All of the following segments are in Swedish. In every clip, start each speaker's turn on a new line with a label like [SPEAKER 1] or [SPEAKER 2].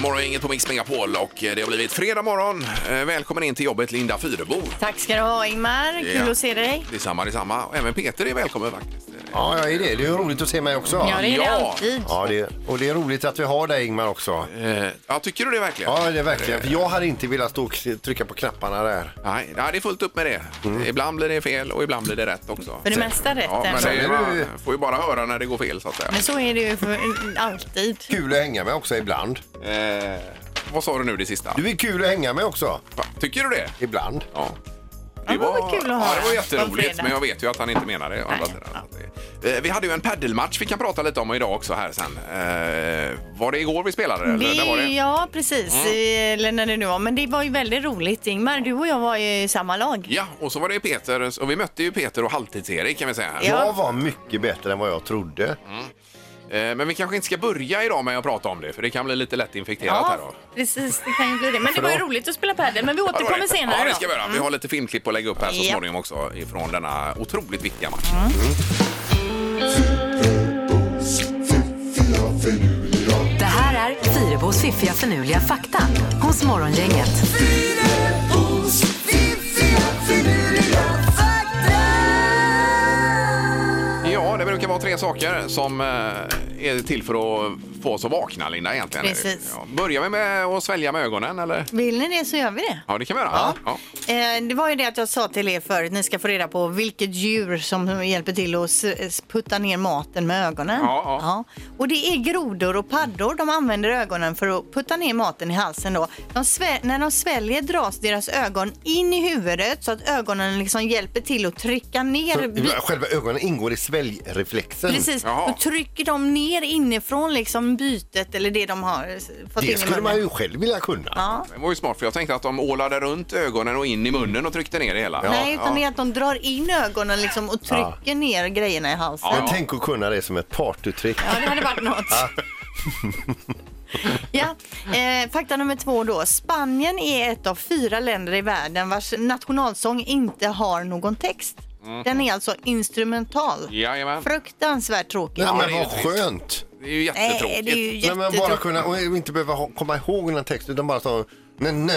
[SPEAKER 1] morgon på Mix Megapol och eh, det har blivit fredag morgon. Eh, Välkommen in till jobbet Linda Fyrebo.
[SPEAKER 2] Tack ska du ha Ingmar, kul
[SPEAKER 1] Ja.
[SPEAKER 2] att se dig.
[SPEAKER 1] Detsamma, detsamma. Och Även Peter är välkommen faktiskt.
[SPEAKER 3] Ja, jag är det. Det är ju roligt att se mig också.
[SPEAKER 2] Ja, det är det
[SPEAKER 1] Ja.
[SPEAKER 2] alltid.
[SPEAKER 3] Ja, det, och det är roligt att vi har dig Ingmar också.
[SPEAKER 1] Eh, Ja, tycker du det verkligen?
[SPEAKER 3] Ja, det är verkligen. För jag hade inte velat stå och trycka på knapparna där.
[SPEAKER 1] Nej, nej, det är fullt upp med det.
[SPEAKER 3] Mm.
[SPEAKER 1] Ibland blir det fel och ibland blir det rätt också.
[SPEAKER 2] För det mesta rätt alltså.
[SPEAKER 1] Ja, men
[SPEAKER 2] ändå.
[SPEAKER 1] det är,
[SPEAKER 3] Sen är det ju-
[SPEAKER 1] man får ju bara höra när det går fel så att säga.
[SPEAKER 2] Men så är det ju för, eh, alltid.
[SPEAKER 3] Kul att hänga med också ibland.
[SPEAKER 1] Eh, vad sa du nu det sista?
[SPEAKER 3] Du är kul att hänga med också.
[SPEAKER 1] Va, Tycker du det?
[SPEAKER 3] Ibland.
[SPEAKER 1] Ja.
[SPEAKER 2] Ja, men vad kul att
[SPEAKER 1] ja,
[SPEAKER 2] höra.
[SPEAKER 1] det var
[SPEAKER 2] Om
[SPEAKER 1] jätteroligt,
[SPEAKER 2] fredag.
[SPEAKER 1] men jag vet ju att han inte menar det. å andra
[SPEAKER 2] Nej.
[SPEAKER 1] sidan. Så det- Eh, Vi hade ju en paddelmatch vi kan prata lite om idag också här sen. Eh, var det igår vi spelade? Eller?
[SPEAKER 2] Det,
[SPEAKER 1] Där var det. Mm.
[SPEAKER 2] Ja, precis. I- Eller när det nu var. Men det var ju väldigt roligt Ingmar. Du och jag var ju i samma lag.
[SPEAKER 1] Ja, och så var det Peter, och vi mötte ju Peter och Halvtids-Erik kan vi säga. här.
[SPEAKER 2] Ja.
[SPEAKER 3] Jag var mycket bättre än vad jag trodde.
[SPEAKER 1] Eh, Men vi kanske inte ska börja idag med att prata om det, för det kan bli lite lätt infekterat här då.
[SPEAKER 2] Ja, precis. Det kan ju bli det. Men det var ju roligt att spela padel. Men vi
[SPEAKER 1] Ja, det var
[SPEAKER 2] återkommer
[SPEAKER 1] det.
[SPEAKER 2] senare.
[SPEAKER 1] Ja, det
[SPEAKER 2] då. Mm.
[SPEAKER 1] ska vi göra. Vi har lite filmklipp att lägga upp här så
[SPEAKER 2] Ja.
[SPEAKER 1] småningom också ifrån denna otroligt viktiga match.
[SPEAKER 4] Det här är Fyrabos fiffiga förnuliga fakta hos Morgongänget.
[SPEAKER 1] Ja, det brukar vara tre saker som eh, är till för att få oss att vakna, Linda, egentligen.
[SPEAKER 2] Precis.
[SPEAKER 1] Ja, börjar vi med att svälja med ögonen, eller?
[SPEAKER 2] Vill ni det så gör vi det.
[SPEAKER 1] Ja, det kan vi göra. Ja. Ja.
[SPEAKER 2] Eh, Det var ju det att jag sa till er förut, ni ska få reda på vilket djur som hjälper till att s- s- putta ner maten med ögonen.
[SPEAKER 1] Ja, ja.
[SPEAKER 2] Och det är grodor och paddor, de använder ögonen för att putta ner maten i halsen då. De svä- när de sväljer dras deras ögon in i huvudet så att ögonen liksom hjälper till att trycka ner bi-
[SPEAKER 3] Så, själva ögonen ingår i sväljreflexen.
[SPEAKER 2] Precis,
[SPEAKER 1] Jaha.
[SPEAKER 2] då trycker de ner inifrån liksom bytet eller det de har s- fått in
[SPEAKER 3] Det
[SPEAKER 2] i
[SPEAKER 3] skulle man
[SPEAKER 2] munnen.
[SPEAKER 3] ju själv vilja kunna.
[SPEAKER 2] Ja.
[SPEAKER 1] Det var ju smart, för jag tänkte att de ålade runt ögonen och in i munnen och tryckte ner det hela.
[SPEAKER 2] Nej, utan det
[SPEAKER 1] ja.
[SPEAKER 2] är att de drar in ögonen liksom och trycker ner grejerna i halsen.
[SPEAKER 3] Men tänk att kunna det som ett partytrick.
[SPEAKER 2] Ja, det hade varit något. Ja, eh, fakta nummer två då. Spanien är ett av fyra länder i världen vars nationalsång inte har någon text.
[SPEAKER 1] Mhm.
[SPEAKER 2] Den är alltså instrumental.
[SPEAKER 1] Jajamän.
[SPEAKER 2] Fruktansvärt tråkigt.
[SPEAKER 3] Nej,
[SPEAKER 1] det
[SPEAKER 3] men
[SPEAKER 1] är
[SPEAKER 3] vad
[SPEAKER 1] ju trist.
[SPEAKER 3] skönt.
[SPEAKER 1] Det är ju
[SPEAKER 2] Nej,
[SPEAKER 1] jättetråkigt.
[SPEAKER 2] det är ju
[SPEAKER 3] Nej, men bara
[SPEAKER 2] jättetråkigt.
[SPEAKER 3] kunna, och inte behöva ha, komma ihåg den här texten utan bara så... Nej, nej,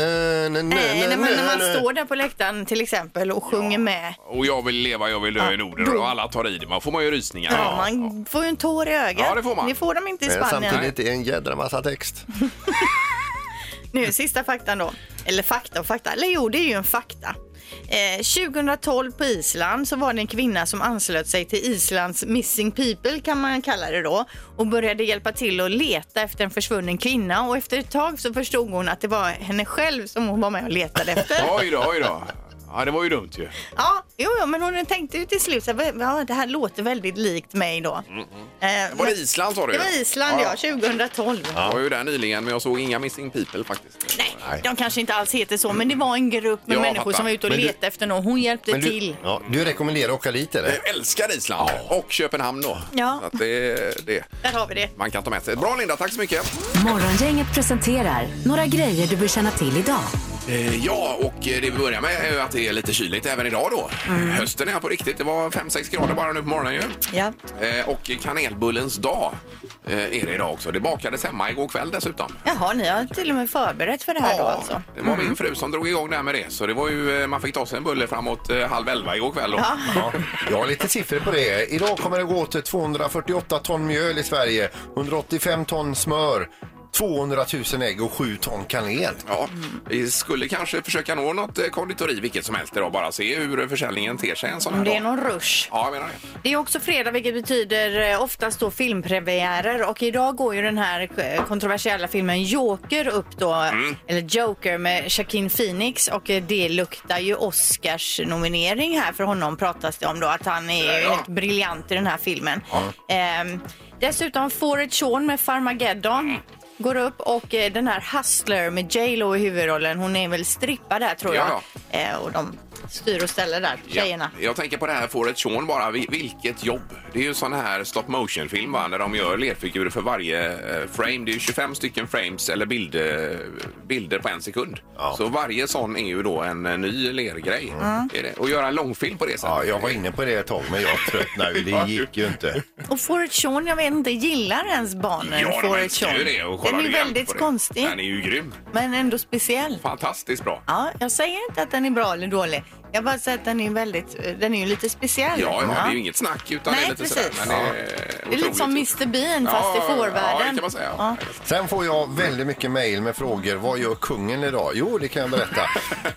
[SPEAKER 3] nej,
[SPEAKER 2] Nej,
[SPEAKER 3] nej,
[SPEAKER 2] Eh, när man, när man
[SPEAKER 3] nej.
[SPEAKER 2] står där på läktaren till exempel och sjunger med.
[SPEAKER 1] Och jag vill leva, jag vill dö i Norden och alla tar i det. Man får man ju rysningar.
[SPEAKER 2] Ja, man får ju en tår i ögat.
[SPEAKER 1] Ja, det får man.
[SPEAKER 2] Det får de inte i
[SPEAKER 3] Men
[SPEAKER 2] Spanien.
[SPEAKER 3] Eh, samtidigt är det en jädra massa text.
[SPEAKER 2] Nu sista faktan då. Eller fakta och fakta. Eller jo, det är ju en fakta. Eh, 2012 på Island så var det en kvinna som anslöt sig till Islands Missing People kan man kalla det då och började hjälpa till att leta efter en försvunnen kvinna och efter ett tag så förstod hon att det var henne själv som hon var med och letade efter.
[SPEAKER 1] Oj då, oj då. Ja, det var ju dumt ju.
[SPEAKER 2] ja, jo, jo, men hon tänkte ju till slut så här, ja, det här låter väldigt likt mig då. Eh,
[SPEAKER 1] Mm, Var det
[SPEAKER 2] men-
[SPEAKER 1] Island sa du?
[SPEAKER 2] Det var Island ja, 2012.
[SPEAKER 1] Jag var ju där nyligen, men jag såg inga Missing People faktiskt.
[SPEAKER 2] Nej, de kanske inte alls heter så, men det var en grupp med
[SPEAKER 1] Jag
[SPEAKER 2] människor
[SPEAKER 1] fattar.
[SPEAKER 2] som var ute och
[SPEAKER 3] Men du-
[SPEAKER 2] letade efter någon. Hon hjälpte
[SPEAKER 3] Men du,
[SPEAKER 2] till.
[SPEAKER 3] ja, du rekommenderar att åka dit eller?
[SPEAKER 1] Jag älskar Island och Köpenhamn då.
[SPEAKER 2] Ja.
[SPEAKER 1] Så att det, det
[SPEAKER 2] Där har vi det.
[SPEAKER 1] man kan ta med sig. Bra Linda, tack så mycket.
[SPEAKER 4] Morgongänget presenterar några grejer du bör känna till idag.
[SPEAKER 1] Eh, ja, och eh, det vi börjar med är ju att det är lite kyligt även idag då.
[SPEAKER 2] Mm.
[SPEAKER 1] Hösten är här på riktigt. Det var 5-6 grader bara nu på morgonen ju.
[SPEAKER 2] Ja.
[SPEAKER 1] Eh, och kanelbullens dag eh, är det idag också. Det bakades hemma igår kväll dessutom.
[SPEAKER 2] Jaha, ni har till och med förberett för det här då alltså?
[SPEAKER 1] det var min fru som drog igång det här med det. Så det var ju, eh, man fick ta sig en bulle framåt eh, halv elva igår kväll. Då.
[SPEAKER 3] Ja, jag har lite siffror på det. Idag kommer det gå åt 248 ton mjöl i Sverige, 185 ton smör, 200 000 ägg och 7 ton kanel.
[SPEAKER 1] Ja,
[SPEAKER 2] Mm.
[SPEAKER 1] vi skulle kanske försöka nå något eh, konditori vilket som helst idag. Bara se hur försäljningen ter sig en sån här
[SPEAKER 2] Om det är
[SPEAKER 1] dag.
[SPEAKER 2] någon rush.
[SPEAKER 1] Ja, jag menar det.
[SPEAKER 2] Det är också fredag vilket betyder eh, oftast då filmpremiärer och idag går ju den här eh, kontroversiella filmen Joker upp då,
[SPEAKER 1] Mm.
[SPEAKER 2] eller Joker med Shaquin Phoenix och eh, det luktar ju Oscars nominering här för honom pratas det om då att han är
[SPEAKER 1] Ja, ja.
[SPEAKER 2] helt briljant i den här filmen. Ehm, dessutom Forrest Shawn med Farmageddon går upp och eh, den här Hustler med J Lo i huvudrollen, hon är väl strippa där tror jag.
[SPEAKER 1] Ja,
[SPEAKER 2] Eh, och de styr och ställer där, tjejerna.
[SPEAKER 1] Ja, jag tänker på det här Fåret Sean bara. Vi- Vilket jobb! Det är ju sån här stop motion film va? När de gör lerfigurer för varje eh, frame. Det är ju 25 stycken frames eller bild, eh, bilder på en sekund.
[SPEAKER 3] Ja. Mm.
[SPEAKER 1] Så varje sån är ju då en eh, ny lergrej. Är det? Och göra en långfilm på det sättet.
[SPEAKER 3] Ja, jag var inne på det ett tag men jag tröttnade ju. Det gick ju inte.
[SPEAKER 2] Och Forrest Shawn, jag vet inte, gillar ens barnen
[SPEAKER 1] Ja, de
[SPEAKER 2] Forrest
[SPEAKER 1] älskar
[SPEAKER 2] Shawn?
[SPEAKER 1] ju det och kollade
[SPEAKER 2] är
[SPEAKER 1] grann
[SPEAKER 2] väldigt
[SPEAKER 1] på det.
[SPEAKER 2] konstig.
[SPEAKER 1] Den är ju grym.
[SPEAKER 2] Men ändå speciell.
[SPEAKER 1] Fantastiskt bra.
[SPEAKER 2] Ja, jag säger inte att den är bra eller dålig. Jag bara säger att den är väldigt, eh, den är ju lite speciell.
[SPEAKER 1] Ja, ja, det är ju inget snack utan
[SPEAKER 2] Nej,
[SPEAKER 1] det är lite
[SPEAKER 2] precis.
[SPEAKER 1] sådär. Men det, är
[SPEAKER 2] Det är lite
[SPEAKER 1] otroligt
[SPEAKER 2] som
[SPEAKER 1] gjort.
[SPEAKER 2] Mr Bean fast i
[SPEAKER 1] Ja,
[SPEAKER 2] fårvärlden.
[SPEAKER 1] Ja, det kan man säga.
[SPEAKER 2] Ja.
[SPEAKER 3] Sen får jag väldigt mycket mejl med frågor. Vad gör kungen idag? Jo, det kan jag berätta.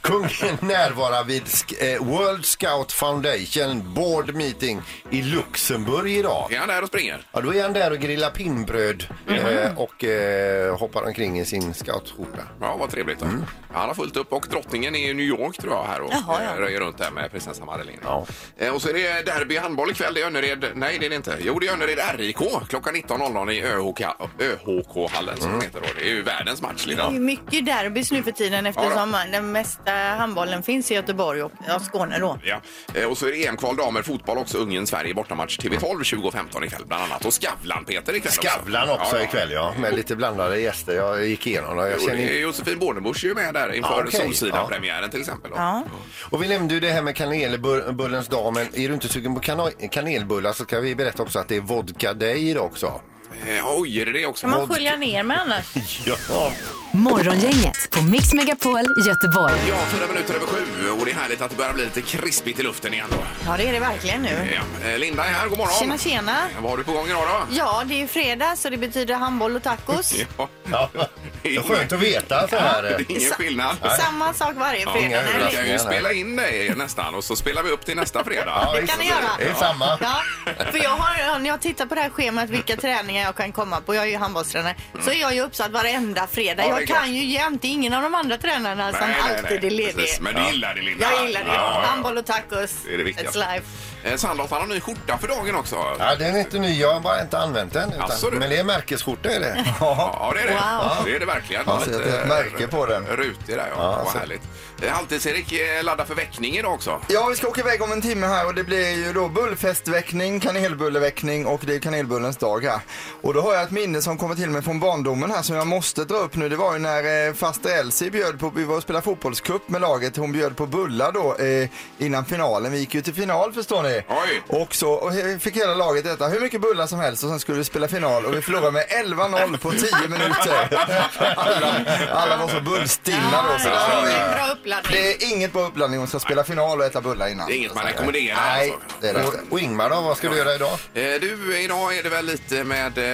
[SPEAKER 3] kungen närvarar vid sk- eh, World Scout Foundation Board Meeting i Luxemburg idag.
[SPEAKER 1] Är han där och springer?
[SPEAKER 3] Ja, då är han där och grillar pinnbröd
[SPEAKER 1] Mhm.
[SPEAKER 3] eh, och eh, hoppar omkring i sin scoutskjorta.
[SPEAKER 1] Ja, vad trevligt. då.
[SPEAKER 3] Mm.
[SPEAKER 1] Han har fullt upp och drottningen är i New York tror jag här och
[SPEAKER 2] Jaha, ja.
[SPEAKER 1] eh, röjer runt där med prinsessan Madeleine.
[SPEAKER 3] Ja.
[SPEAKER 1] Eh, Och så är det derby i handboll ikväll. Det är Önnered... Nej, det är det inte. Jo, det är Önnered RIK klockan 19.00 i ÖHK... ÖHK-hallen som
[SPEAKER 3] Mm.
[SPEAKER 1] det heter då. Det är ju världens match,
[SPEAKER 2] Det är
[SPEAKER 1] Linda.
[SPEAKER 2] ju mycket derbys nu för tiden eftersom den mesta handbollen finns i Göteborg och ja, Skåne då.
[SPEAKER 1] Ja. Eh, Och så är det EM-kval damer fotboll också. Ungern-Sverige bortamatch TV12 20.15 ikväll bland annat. Och Skavlan-Peter ikväll också.
[SPEAKER 3] Skavlan också ikväll, ja. Med lite blandade gäster. Jag gick igenom det. Jag
[SPEAKER 1] Jo,
[SPEAKER 3] känner
[SPEAKER 1] det är
[SPEAKER 3] inte...
[SPEAKER 1] Josefin Bornebusch är ju med där inför
[SPEAKER 3] Ja, okej.
[SPEAKER 1] Solsidan-premiären till exempel. Då.
[SPEAKER 2] Ja.
[SPEAKER 3] Och vi nämnde ju det här med kanelbullens dag, men är du inte sugen på kana- kanelbullar så kan vi berätta också att det är vodka day idag också.
[SPEAKER 1] Eh, Oj, är det det också?
[SPEAKER 2] Kan man skölja ner med annars?
[SPEAKER 3] Ja.
[SPEAKER 4] Morgongänget på Mix Megapol Göteborg.
[SPEAKER 1] Ja, fyra minuter över sju och det är härligt att det börjar bli lite krispigt i luften igen då.
[SPEAKER 2] Ja, det är det verkligen nu.
[SPEAKER 1] Ja. eh, Linda är här, god morgon.
[SPEAKER 2] Tjena, tjena.
[SPEAKER 1] Vad har du på gång idag då?
[SPEAKER 2] Ja, det är ju fredag så det betyder handboll och tacos.
[SPEAKER 1] Ja.
[SPEAKER 3] Det är skönt att veta så
[SPEAKER 1] Det
[SPEAKER 3] här.
[SPEAKER 1] är ingen
[SPEAKER 2] Sa-
[SPEAKER 1] skillnad.
[SPEAKER 2] Samma sak varje
[SPEAKER 1] Ja,
[SPEAKER 2] fredag. när det
[SPEAKER 1] vi
[SPEAKER 2] är
[SPEAKER 1] kan
[SPEAKER 3] överraskningar
[SPEAKER 1] ju
[SPEAKER 3] här.
[SPEAKER 1] spela in dig nästan och så spelar vi upp till nästa fredag.
[SPEAKER 2] Det kan ni göra.
[SPEAKER 3] Det är samma.
[SPEAKER 2] Ja, för jag har, när jag tittar på det här schemat vilka träningar jag kan komma på, jag är ju handbollstränare, så är jag ju uppsatt varenda fredag.
[SPEAKER 1] Ja, det är
[SPEAKER 2] jag
[SPEAKER 1] klart.
[SPEAKER 2] kan ju jämt, det är ingen av de andra tränarna som alltid är ledig.
[SPEAKER 1] Precis, Men du gillar det Linda.
[SPEAKER 2] Jag gillar det.
[SPEAKER 1] Ja, ja,
[SPEAKER 2] Handboll och tacos.
[SPEAKER 1] Det är det viktigaste.
[SPEAKER 2] It's life.
[SPEAKER 1] ja. Eh, Sandholt han har ny skjorta för dagen också.
[SPEAKER 3] Ja, den är inte ny. Jag har bara inte använt den. Utan,
[SPEAKER 1] Asså, du.
[SPEAKER 3] men det är märkesskjorta är det.
[SPEAKER 1] Ja, det är det.
[SPEAKER 2] Wow.
[SPEAKER 1] Det är det verkligen.
[SPEAKER 3] Ja, så det är ett märke på den.
[SPEAKER 1] Rutig där, ja.
[SPEAKER 3] Ja,
[SPEAKER 1] Vad
[SPEAKER 3] så-
[SPEAKER 1] härligt. Eh, Halvtids-Erik laddar för väckning idag också.
[SPEAKER 5] Ja, vi ska åka iväg om en timme här och det blir ju då bullfestväckning, kanelbulleväckning och det är kanelbullens dag här. Och då har jag ett minne som kommer till mig från barndomen här som jag måste dra upp nu. Det var ju när eh, faster Elsie bjöd på, vi var och spelade fotbollscup med laget, hon bjöd på bullar då eh, innan finalen. Vi gick ju till final förstår ni.
[SPEAKER 1] Oj.
[SPEAKER 5] Och så och he- fick hela laget äta hur mycket bullar som helst och sen skulle vi spela final och vi förlorade med 11-0 på 10 minuter. Alla, alla var så bullstinna då. Så det
[SPEAKER 2] Ja,
[SPEAKER 5] var
[SPEAKER 2] det
[SPEAKER 5] ju-
[SPEAKER 2] är en bra uppladdning.
[SPEAKER 5] det är inget bra uppladdning om man ska spela final och äta bullar innan.
[SPEAKER 1] Det är inget man rekommenderar
[SPEAKER 5] Nej,
[SPEAKER 1] alltså.
[SPEAKER 5] det är det.
[SPEAKER 3] Och, och Ingmar då, vad ska du göra idag?
[SPEAKER 1] Eh, Du, idag är det väl lite med... eh,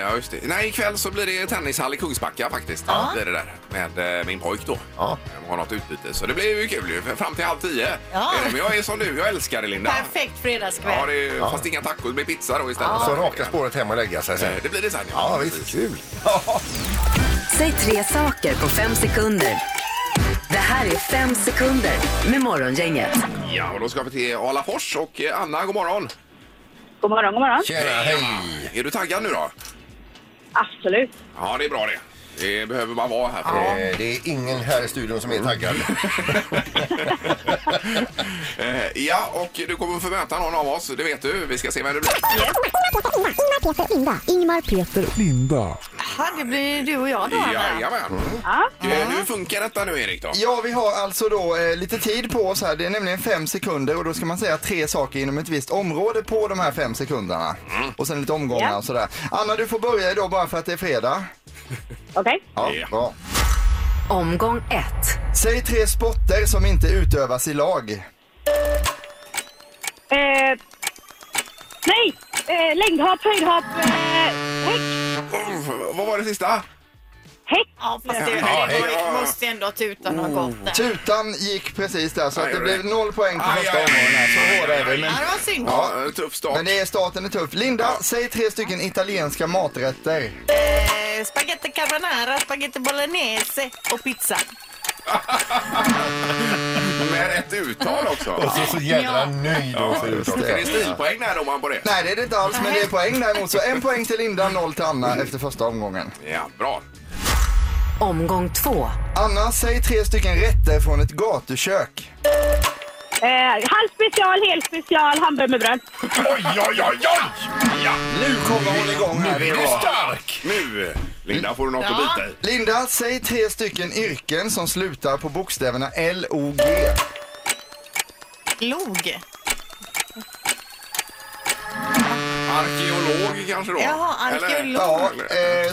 [SPEAKER 1] Ja, just det. Nej, ikväll så blir det tennishall i Kungsbacka faktiskt. Ja. Det är det där med eh, min pojk då.
[SPEAKER 3] Ja.
[SPEAKER 1] De har något utbyte. Så det blir ju kul ju. Fram till halv tio.
[SPEAKER 2] Ja.
[SPEAKER 1] Eh, Men jag är som du, jag älskar det Linda.
[SPEAKER 2] Perfekt fredagskväll.
[SPEAKER 1] Ja, det är, ju- Fast inga tacos, det blir pizza då istället.
[SPEAKER 3] Och så raka spåret hem och lägga sig sen.
[SPEAKER 1] Eh, Det blir det sen.
[SPEAKER 3] Ja, visst. Kul.
[SPEAKER 4] Säg tre saker på fem sekunder. Det här är fem sekunder med Morgongänget.
[SPEAKER 1] Ja, och då ska vi till Alafors och eh, Anna, god morgon.
[SPEAKER 6] God morgon, god morgon.
[SPEAKER 3] Tjena, hej!
[SPEAKER 1] Är du taggad nu då?
[SPEAKER 6] Absolut.
[SPEAKER 1] Ja, det är bra det. Det behöver man vara här för att-
[SPEAKER 3] Eh, Det är ingen här i studion som är taggad.
[SPEAKER 1] Eh, Ja, och du kommer få möta någon av oss, det vet du. Vi ska se vem det blir.
[SPEAKER 7] Ingmar, Peter,
[SPEAKER 2] Jaha, det blir du och jag då, Anna.
[SPEAKER 1] Jajamän.
[SPEAKER 6] Ja.
[SPEAKER 1] Eh, Hur funkar detta nu, Erik? då?
[SPEAKER 5] Mm. Ja, vi har alltså då eh, lite tid på oss här. Det är nämligen fem sekunder och då ska man säga tre saker inom ett visst område på de här fem sekunderna.
[SPEAKER 1] Mm.
[SPEAKER 5] Och sen lite omgångar
[SPEAKER 6] Ja.
[SPEAKER 5] och sådär. Anna, du får börja idag bara för att det är fredag.
[SPEAKER 6] Okej.
[SPEAKER 5] Ja,
[SPEAKER 1] Ja.
[SPEAKER 5] bra.
[SPEAKER 4] Omgång ett.
[SPEAKER 5] Säg tre sporter som inte utövas i lag.
[SPEAKER 6] Eh, nej! Eh, längdhopp, höjdhopp, eh, häck.
[SPEAKER 1] Oh, Vad var det sista?
[SPEAKER 6] Häck.
[SPEAKER 2] Ja, fast det,
[SPEAKER 1] Ja,
[SPEAKER 2] det,
[SPEAKER 1] hej. Oh,
[SPEAKER 2] det måste ändå tuta något gott där.
[SPEAKER 5] Tutan gick precis där så
[SPEAKER 1] Aj,
[SPEAKER 5] att det
[SPEAKER 1] aj,
[SPEAKER 5] blev
[SPEAKER 1] aj.
[SPEAKER 5] noll poäng på
[SPEAKER 1] Aj,
[SPEAKER 5] första
[SPEAKER 1] aj, aj,
[SPEAKER 5] omgången. här.
[SPEAKER 1] aj,
[SPEAKER 5] Så hårda är
[SPEAKER 1] aj,
[SPEAKER 5] vi. Men,
[SPEAKER 2] Ja, det var synd.
[SPEAKER 1] Ja, eh, tuff start.
[SPEAKER 5] men det är, starten är tuff. Linda, säg tre stycken italienska maträtter.
[SPEAKER 2] Eh, Spaghetti carbonara, spaghetti bolognese och pizza.
[SPEAKER 1] Med rätt uttal också.
[SPEAKER 3] Och så, så jädra
[SPEAKER 2] Ja.
[SPEAKER 3] nöjd och så just
[SPEAKER 1] Är det
[SPEAKER 3] det.
[SPEAKER 1] stilpoäng där domaren på det?
[SPEAKER 5] Nej, det är det inte alls, men det är poäng däremot. Så en poäng till Linda, noll till Anna efter första omgången.
[SPEAKER 1] Ja, bra.
[SPEAKER 4] Omgång två.
[SPEAKER 5] Anna, säg tre stycken rätter från ett gatukök.
[SPEAKER 6] Eh, halv special, hel special, hamburgare med bröd.
[SPEAKER 1] Oj, oj, oj, oj! Ja,
[SPEAKER 5] Nu kommer hon igång här idag.
[SPEAKER 1] stark! Nu, Linda, får du något att
[SPEAKER 2] Ja.
[SPEAKER 1] bita i.
[SPEAKER 5] Linda, säg tre stycken yrken som slutar på bokstäverna L-O-G.
[SPEAKER 2] Log.
[SPEAKER 1] Arkeolog kanske då?
[SPEAKER 2] Jaha, arkeolog.
[SPEAKER 5] Ja, eh,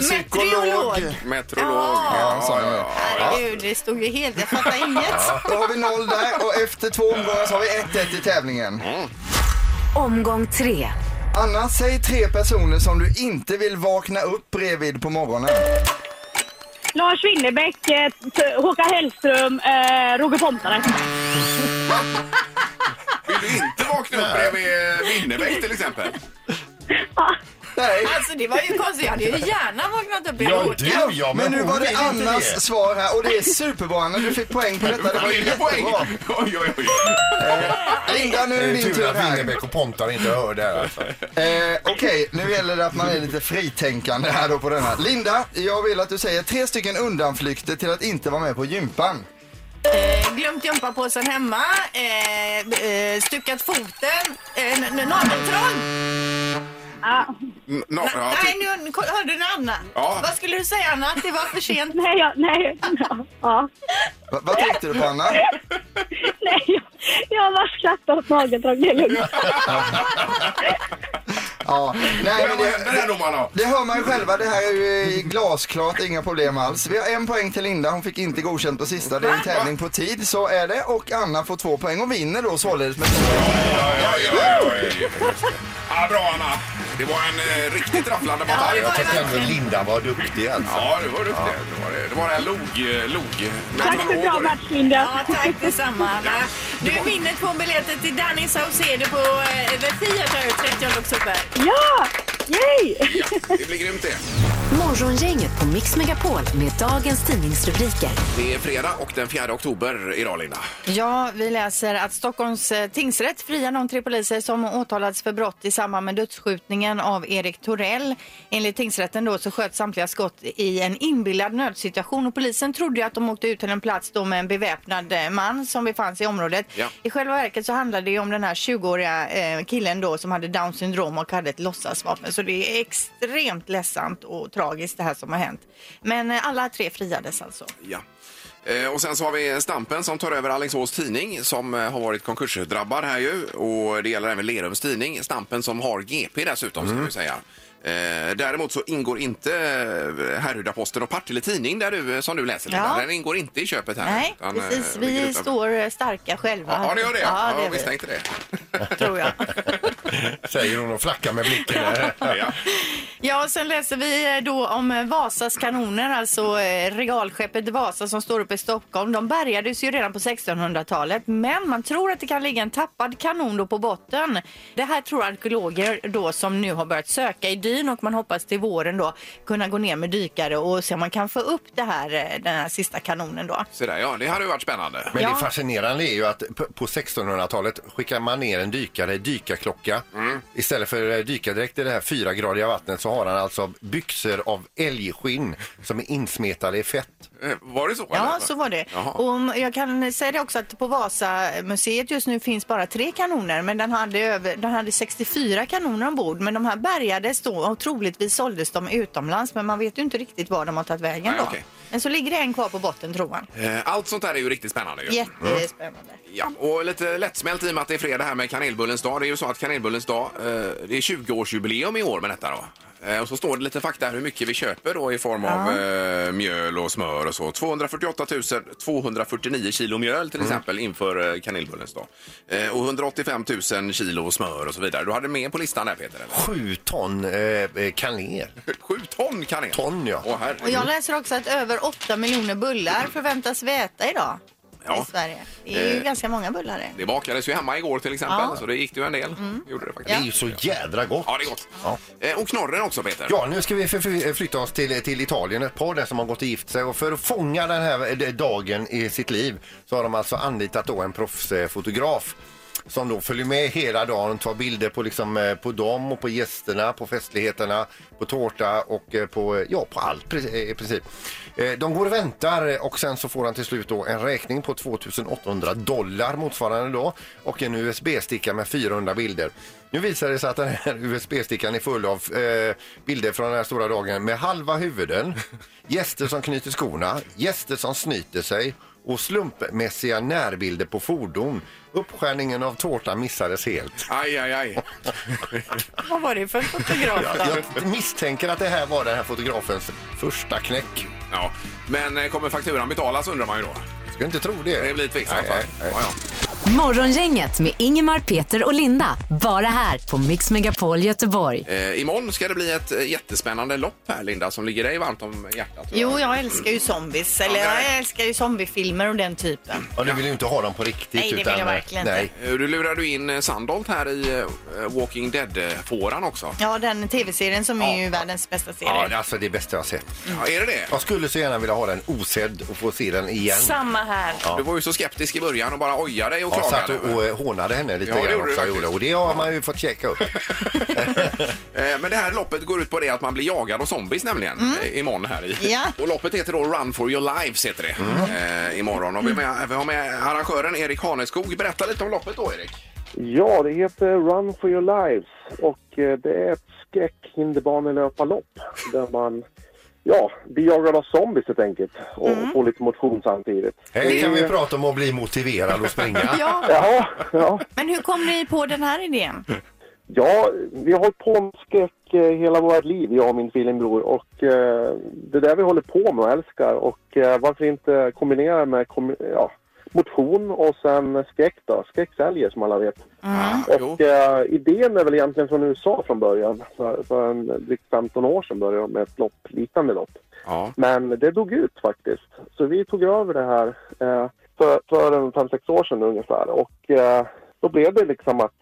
[SPEAKER 2] Meteorolog.
[SPEAKER 5] psykolog.
[SPEAKER 1] Metrolog.
[SPEAKER 2] Ja.
[SPEAKER 5] sa jag.
[SPEAKER 2] Herregud, det stod ju helt. Jag fattar inget.
[SPEAKER 5] Då har vi noll där och efter två omgångar så har vi 1-1 i tävlingen.
[SPEAKER 4] Omgång tre.
[SPEAKER 5] Anna, säg tre personer som du inte vill vakna upp bredvid på morgonen.
[SPEAKER 6] Lars Winnerbäck, eh, t- Håkan Hellström, eh, Roger Pontare.
[SPEAKER 1] Vill du inte vakna upp bredvid Winnerbäck till exempel?
[SPEAKER 6] Ja.
[SPEAKER 5] Nej.
[SPEAKER 2] Alltså det var ju konstigt. Jag hade ju gärna vaknat upp i
[SPEAKER 3] Ja,
[SPEAKER 2] Håkan.
[SPEAKER 3] du ja, men,
[SPEAKER 5] Men nu
[SPEAKER 3] hon
[SPEAKER 5] var det
[SPEAKER 3] vill inte
[SPEAKER 5] Annas
[SPEAKER 3] det.
[SPEAKER 5] svar här och det är superbra Anna, du fick poäng på detta. Det var
[SPEAKER 1] Vad är det poäng?
[SPEAKER 5] jättebra.
[SPEAKER 1] Oj, oj, oj.
[SPEAKER 5] Linda, nu
[SPEAKER 3] Det
[SPEAKER 5] är det
[SPEAKER 3] är
[SPEAKER 5] din
[SPEAKER 3] Eh, tur
[SPEAKER 5] tur
[SPEAKER 3] att
[SPEAKER 5] här.
[SPEAKER 3] Winnerbäck och Pontar inte hör det här. Alltså.
[SPEAKER 5] Eh, Okej, nu gäller det att man är lite fritänkande här då på den här. Linda, jag vill att du säger tre stycken undanflykter till att inte vara med på gympan.
[SPEAKER 2] Eh, glömt gympapåsen hemma. Eh, eh, stuckat foten. Eh, n- n- Nageltrång.
[SPEAKER 6] Ja.
[SPEAKER 1] N- no, ja,
[SPEAKER 2] Nej,
[SPEAKER 1] ty-
[SPEAKER 2] nu nu- hörde du Anna?
[SPEAKER 1] Ja.
[SPEAKER 2] Vad skulle du säga Anna? Att det var för sent?
[SPEAKER 6] Nej, jag, nej, ja.
[SPEAKER 5] Va, vad tänkte du på Anna?
[SPEAKER 6] nej, jag, jag har bara skrattat åt nageltrång, det är lugnt.
[SPEAKER 5] Ja, nej, men
[SPEAKER 1] Vad händer
[SPEAKER 5] det,
[SPEAKER 1] här domarna?
[SPEAKER 5] det hör man ju själva, det här är ju eh, glasklart, inga problem alls. Vi har en poäng till Linda, hon fick inte godkänt på sista. Det är en tävling på tid, så är det. Och Anna får två poäng och vinner då således med två poäng.
[SPEAKER 1] Ja, ja, ja, ja, ja. ja, bra Anna. Det var en eh, riktigt rafflande batalj.
[SPEAKER 2] det var
[SPEAKER 1] Ja,
[SPEAKER 2] det.
[SPEAKER 3] Jag tycker ändå Linda var duktig alltså.
[SPEAKER 1] det var duktigt. Det var det. Det var det här log... eh, log
[SPEAKER 6] Tack för bra match, Linda.
[SPEAKER 2] Ja, tack detsamma Anna. Du vinner två biljetter till Danny Saucedo på eh, The Theatre 30 oktober.
[SPEAKER 6] Ja, yay!
[SPEAKER 1] Ja, det blir grymt det.
[SPEAKER 4] Morgongänget på Mix Megapol med dagens tidningsrubriker.
[SPEAKER 1] Det är fredag och den 4 oktober idag, Linda.
[SPEAKER 2] Ja, vi läser att Stockholms eh, tingsrätt friar de tre poliser som åtalats för brott i samband med dödsskjutningen av Erik Torell. Enligt tingsrätten då så sköt samtliga skott i en inbillad nödsituation och polisen trodde ju att de åkte ut till en plats då med en beväpnad eh, man som befann sig i området.
[SPEAKER 1] Ja.
[SPEAKER 2] I själva verket så handlade det ju om den här 20-åriga eh, killen då som hade Downs syndrom och hade ett låtsasvapen. Så det är extremt ledsamt och tragiskt det här som har hänt. Men eh, alla tre friades alltså.
[SPEAKER 1] Ja. Eh, Och sen så har vi Stampen som tar över Alingsås tidning som eh, har varit konkursdrabbad här ju. Och det gäller även Lerums tidning. Stampen som har GP dessutom ska vi säga. Eh, Däremot så ingår inte eh, Härryda-Posten och Partille tidning där du, eh, som du läser Linda.
[SPEAKER 2] Ja.
[SPEAKER 1] Den ingår inte i köpet här.
[SPEAKER 2] Nej,
[SPEAKER 1] utan, eh,
[SPEAKER 2] precis.
[SPEAKER 1] ligger
[SPEAKER 2] Vi
[SPEAKER 1] utanför.
[SPEAKER 2] står eh, starka själva.
[SPEAKER 1] Ja, det gör det.
[SPEAKER 2] Ja,
[SPEAKER 1] Ja,
[SPEAKER 2] det
[SPEAKER 1] jag
[SPEAKER 2] är vi,
[SPEAKER 1] misstänkte det.
[SPEAKER 2] tror jag.
[SPEAKER 3] Säger hon och flackar med blicken. där.
[SPEAKER 1] Ja.
[SPEAKER 2] Ja, och sen läser vi eh, då om eh, Vasas kanoner, alltså eh, regalskeppet Vasa som står uppe i Stockholm. De bärgades ju redan på 1600-talet, men man tror att det kan ligga en tappad kanon då på botten. Det här tror arkeologer då som nu har börjat söka i dyn och man hoppas till våren då kunna gå ner med dykare och se om man kan få upp det här, eh, den här sista kanonen då.
[SPEAKER 1] Så där, ja, det hade ju varit spännande.
[SPEAKER 3] Men
[SPEAKER 2] Ja.
[SPEAKER 3] det fascinerande är ju att p- på 1600-talet skickar man ner en dykare i dykarklocka. Istället för eh, dykardräkt i det här fyragradiga vattnet så har han alltså byxor av älgskinn som är insmetade i fett.
[SPEAKER 1] Eh, Var det så?
[SPEAKER 2] Ja,
[SPEAKER 1] eller?
[SPEAKER 2] så var det.
[SPEAKER 1] Jaha.
[SPEAKER 2] Och om- jag kan säga det också att på Vasamuseet just nu finns bara tre kanoner, men den hade, över, den hade 64 kanoner ombord. Men de här bärgades då och troligtvis såldes de utomlands, men man vet ju inte riktigt var de har tagit vägen
[SPEAKER 1] Nej,
[SPEAKER 2] då.
[SPEAKER 1] okej.
[SPEAKER 2] Men så ligger det en kvar på botten tror man.
[SPEAKER 1] Eh, Allt sånt där är ju riktigt spännande. Ju.
[SPEAKER 2] Jättespännande.
[SPEAKER 1] Ja, och lite lättsmält i och med att det är fredag här med kanelbullens dag. Det är ju så att kanelbullens dag, eh, det är 20-årsjubileum i år med detta då. Eh, Och så står det lite fakta här hur mycket vi köper då i form av eh, mjöl och smör och så. 248 249 kilo mjöl
[SPEAKER 3] Mm.
[SPEAKER 1] till exempel inför eh, kanelbullens dag. Eh, Och 185 000 kilo smör och så vidare. Du hade med på listan där Peter? Eller?
[SPEAKER 3] Sju ton eh, eh, kanel.
[SPEAKER 1] Sju ton kanel!
[SPEAKER 3] Ton, ja.
[SPEAKER 1] Åh, herregud.
[SPEAKER 2] Och jag läser också att över 8 miljoner bullar förväntas vi äta idag
[SPEAKER 1] Ja.
[SPEAKER 2] i Sverige. Det är ju
[SPEAKER 1] Eh.
[SPEAKER 2] ganska många bullar det.
[SPEAKER 1] Det bakades ju hemma igår till exempel,
[SPEAKER 2] Ja. Mm.
[SPEAKER 1] så det gick det ju en del. Gjorde det
[SPEAKER 3] Det
[SPEAKER 1] faktiskt.
[SPEAKER 3] är ju så jädra gott.
[SPEAKER 1] Ja, det är gott.
[SPEAKER 3] Ja.
[SPEAKER 1] Eh, Och knorren också Peter.
[SPEAKER 3] Ja, nu ska vi förfly- flytta oss till, till Italien. Ett par där som har gått och gift sig och för att fånga den här eh, dagen i sitt liv så har de alltså anlitat då en proffsfotograf som då följer med hela dagen, tar bilder på, liksom, eh, på dem och på gästerna, på festligheterna, på tårta och eh, på, eh, ja, på allt pre- eh, i princip. Eh, De går och väntar eh, och sen så får han till slut då en räkning på 2800 dollar motsvarande då och en USB-sticka med 400 bilder. Nu visar det sig att den här USB-stickan är full av eh, bilder från den här stora dagen med halva huvuden, gäster som knyter skorna, gäster som snyter sig och slumpmässiga närbilder på fordon. Uppskärningen av tårtan missades helt.
[SPEAKER 1] Aj, aj, aj.
[SPEAKER 2] Vad var det för fotograf? då?
[SPEAKER 3] Jag misstänker att det här var den här fotografens första knäck.
[SPEAKER 1] Ja. Men eh, kommer fakturan betalas undrar man ju då.
[SPEAKER 3] Ska inte tro det.
[SPEAKER 1] Det blir tveksamt. va?
[SPEAKER 3] Nej, nej,
[SPEAKER 1] Ja, ja.
[SPEAKER 4] Morgongänget med Ingemar, Peter och Linda. Bara här på Mix Megapol Göteborg.
[SPEAKER 1] Eh, imorgon ska det bli ett eh, jättespännande lopp här, Linda, som ligger dig varmt om hjärtat. tror jag.
[SPEAKER 2] Jo, jag älskar ju zombies. Eller
[SPEAKER 1] Ja, nej.
[SPEAKER 2] jag älskar ju zombiefilmer och den typen.
[SPEAKER 3] Ja, du vill ju inte ha dem på riktigt.
[SPEAKER 2] Nej, det vill
[SPEAKER 3] utan,
[SPEAKER 2] jag verkligen
[SPEAKER 3] nej.
[SPEAKER 2] inte.
[SPEAKER 1] Eh, Du lurar du in eh, Sandholt här i eh, Walking Dead-fåran också.
[SPEAKER 2] Ja, den tv-serien som är ju världens bästa
[SPEAKER 3] Ja,
[SPEAKER 2] serie.
[SPEAKER 3] det är alltså det bästa jag har sett.
[SPEAKER 2] Mm.
[SPEAKER 1] Ja, är det det?
[SPEAKER 3] Jag skulle så gärna vilja ha den osedd och få se den igen.
[SPEAKER 2] Samma här.
[SPEAKER 1] Du var ju så skeptisk i början och bara ojade dig och
[SPEAKER 3] Ja, satt
[SPEAKER 1] klagade.
[SPEAKER 3] och och hånade henne lite
[SPEAKER 1] Ja, det
[SPEAKER 3] grann
[SPEAKER 1] gjorde du
[SPEAKER 3] också.
[SPEAKER 1] faktiskt.
[SPEAKER 3] gjorde. Och det har man ju fått checka upp.
[SPEAKER 1] Eh, Men det här loppet går ut på det att man blir jagad av zombies nämligen eh, imorgon här i.
[SPEAKER 2] Mm. Ja.
[SPEAKER 1] Och loppet heter då Run for your lives heter det
[SPEAKER 3] Mm.
[SPEAKER 1] eh, imorgon. Och vi, har
[SPEAKER 2] Mm.
[SPEAKER 1] med, vi har med arrangören Erik Haneskog. Berätta lite om loppet då Erik.
[SPEAKER 8] Ja, det heter Run for your lives och eh, det är ett skräck-hinderbanelöparlopp där man ja, blir jagad av zombies helt enkelt och får lite motion samtidigt.
[SPEAKER 3] Här kan vi prata om att bli motiverad och springa.
[SPEAKER 2] Ja,
[SPEAKER 8] Jaha, ja.
[SPEAKER 2] men hur kom ni på den här idén?
[SPEAKER 8] ja, vi har hållit på med skräck eh, hela vårt liv, jag och min tvillingbror och eh, det är det vi håller på med och älskar och eh, varför inte kombinera med kom, ja, motion och sen skräck då, skräck säljer som alla vet.
[SPEAKER 2] Mm.
[SPEAKER 1] Ah, jo.
[SPEAKER 8] Och eh, idén är väl egentligen från USA från början. För, för en drygt 15 år sedan började de med ett lopp, liknande lopp.
[SPEAKER 1] Ja.
[SPEAKER 8] Men det dog ut faktiskt. Så vi tog över det här eh, för, för en 5-6 år sedan ungefär. Och eh, då blev det liksom att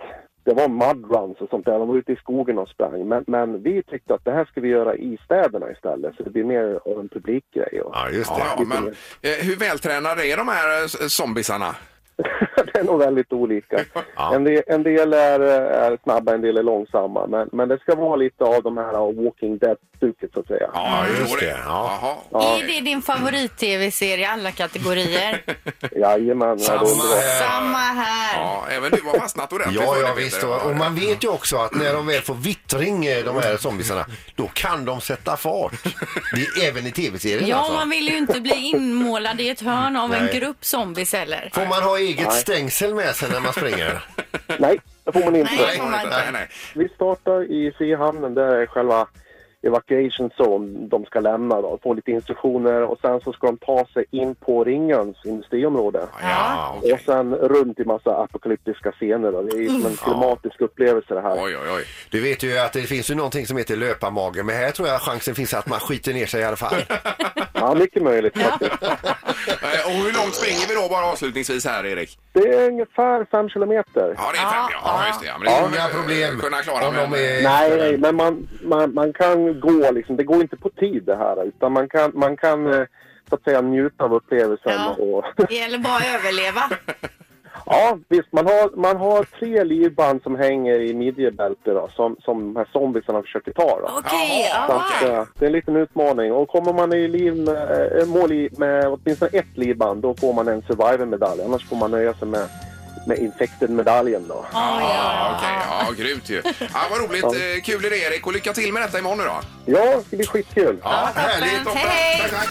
[SPEAKER 8] det var mud runs och sånt där. De var ute i skogen och sprang. Men, men vi tyckte att det här ska vi göra i städerna istället. Så det blir mer av en publikgrej. Och...
[SPEAKER 3] Ja, just det.
[SPEAKER 1] Ja, ja, men, eh, hur vältränade är de här eh, s- zombisarna?
[SPEAKER 8] det är nog väldigt olika. En, del, en del är, är snabba, en del är långsamma. Men, men det ska vara lite av de här Walking Dead-stuket så att säga.
[SPEAKER 1] Ja,
[SPEAKER 3] just
[SPEAKER 1] Mm. tror
[SPEAKER 3] det. Ja.
[SPEAKER 1] Jaha.
[SPEAKER 2] Är det din favorit-tv-serie i alla kategorier?
[SPEAKER 8] Jajamän. ja, då-
[SPEAKER 3] Samma här.
[SPEAKER 2] Samma här.
[SPEAKER 1] Ja, även du har fastnat ordentligt.
[SPEAKER 3] eh, Ja,
[SPEAKER 1] för det,
[SPEAKER 3] ja
[SPEAKER 1] Peter.
[SPEAKER 3] visst. Och och man vet ju också att när de väl får vittring, eh, de här zombisarna, då kan de sätta fart. Det är även i tv-serien
[SPEAKER 9] Ja,
[SPEAKER 3] alltså.
[SPEAKER 9] man vill ju inte bli inmålad i ett hörn av
[SPEAKER 3] Nej.
[SPEAKER 9] en grupp zombies heller.
[SPEAKER 3] Får man ha eget stängsel med sig när man springer?
[SPEAKER 8] Nej, det får man inte.
[SPEAKER 2] Nej. får man
[SPEAKER 1] Nej,
[SPEAKER 2] inte.
[SPEAKER 1] nej, nej.
[SPEAKER 8] Vi startar i Frihamnen. Där är själva evacuation zone de ska lämna. Då. Få lite instruktioner och sen så ska de ta sig in på Ringens industriområde.
[SPEAKER 1] Ja,
[SPEAKER 8] Och
[SPEAKER 1] okej.
[SPEAKER 8] sen runt i massa apokalyptiska scener. Då. Det är ju som en filmatisk upplevelse det här.
[SPEAKER 1] Oj, oj, oj.
[SPEAKER 3] Du vet ju att det finns ju någonting som heter löparmage, men här tror jag chansen finns att man skiter ner sig i alla fall.
[SPEAKER 8] Ja, mycket möjligt faktiskt.
[SPEAKER 1] Eh, Och hur långt springer vi då bara avslutningsvis här, Erik?
[SPEAKER 8] Det är ungefär fem kilometer.
[SPEAKER 1] Ja, det är fem, ja. ja just det. Ja, men det kommer
[SPEAKER 3] Inga
[SPEAKER 1] vi, eh,
[SPEAKER 3] problem
[SPEAKER 1] Kunna klara
[SPEAKER 3] om de är...
[SPEAKER 8] Nej, nej, men man, man, man kan gå liksom. Det går inte på tid det här. Utan man kan, man kan eh, så att säga njuta av upplevelsen.
[SPEAKER 2] Ja.
[SPEAKER 8] Och,
[SPEAKER 2] Det gäller bara att överleva.
[SPEAKER 8] ja, visst. Man har, man har tre livband som hänger i midjebältet då, som, som de här zombiesarna försöker ta. Då.
[SPEAKER 9] Okej,
[SPEAKER 1] Jaha,
[SPEAKER 8] Så
[SPEAKER 9] ja.
[SPEAKER 8] att, eh, det är en liten utmaning. Och kommer man i liv med, eh, mål i, med åtminstone ett livband då får man en survivor-medalj. Annars får man nöja sig med, med infected-medaljen. Då.
[SPEAKER 1] Ja, okej. Ja, grymt ju. Ja, vad roligt. Eh, Kul idé, Erik. Och lycka till med detta imorgon nu då.
[SPEAKER 8] Ja, det ska bli skitkul.
[SPEAKER 3] Ja, härligt.
[SPEAKER 1] Toppen.
[SPEAKER 2] Hej.
[SPEAKER 1] Tack, tack.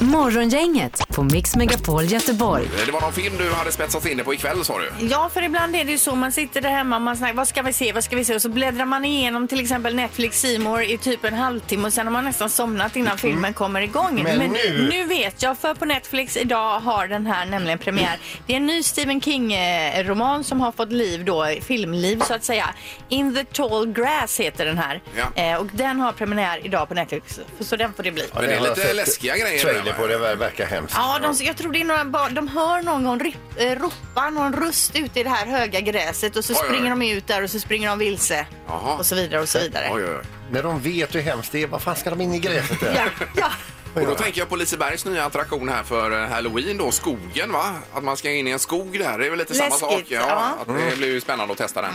[SPEAKER 1] Eh,
[SPEAKER 4] Morgongänget på Mix Megapol Göteborg.
[SPEAKER 1] Eh, Det var någon film du hade spetsat in dig på ikväll, sa du.
[SPEAKER 2] Ja, för ibland är det ju så. Man sitter där hemma och man snackar, vad ska vi se, vad ska vi se? Och så bläddrar man igenom till exempel Netflix Seymour i typ en halvtimme och sen har man nästan somnat innan filmen kommer igång.
[SPEAKER 3] Mm. Men nu-
[SPEAKER 2] nu vet jag, för på Netflix idag har den här nämligen premiär. Det är en ny Stephen King-roman som har fått liv då, filmliv så att säga. In the tall grass heter den här.
[SPEAKER 1] Ja.
[SPEAKER 2] Eh, och den har premiär idag på Netflix, så den får det bli.
[SPEAKER 1] Men det är lite läskiga grejer det
[SPEAKER 3] Trailer
[SPEAKER 1] där,
[SPEAKER 3] på det ver- verkar hemskt.
[SPEAKER 2] Ja, de, jag tror det är några barn. De hör någon gång rip, eh, ropa någon röst ute i det här höga gräset och så
[SPEAKER 1] Oj, oj, oj.
[SPEAKER 2] springer de ut där och så springer de vilse.
[SPEAKER 1] Jaha.
[SPEAKER 2] Och så vidare och så vidare.
[SPEAKER 1] Oj, oj, oj.
[SPEAKER 3] När de vet hur hemskt det är, vad fan ska de in i gräset där?
[SPEAKER 2] Ja, ja.
[SPEAKER 1] Och då tänker jag på Lisebergs nya attraktion här för eh, halloween då, skogen va? Att man ska in i en skog där, det är väl lite samma sak?
[SPEAKER 2] Läskigt, ja. Mm.
[SPEAKER 1] Att
[SPEAKER 3] Mm.
[SPEAKER 1] det blir ju spännande att testa den.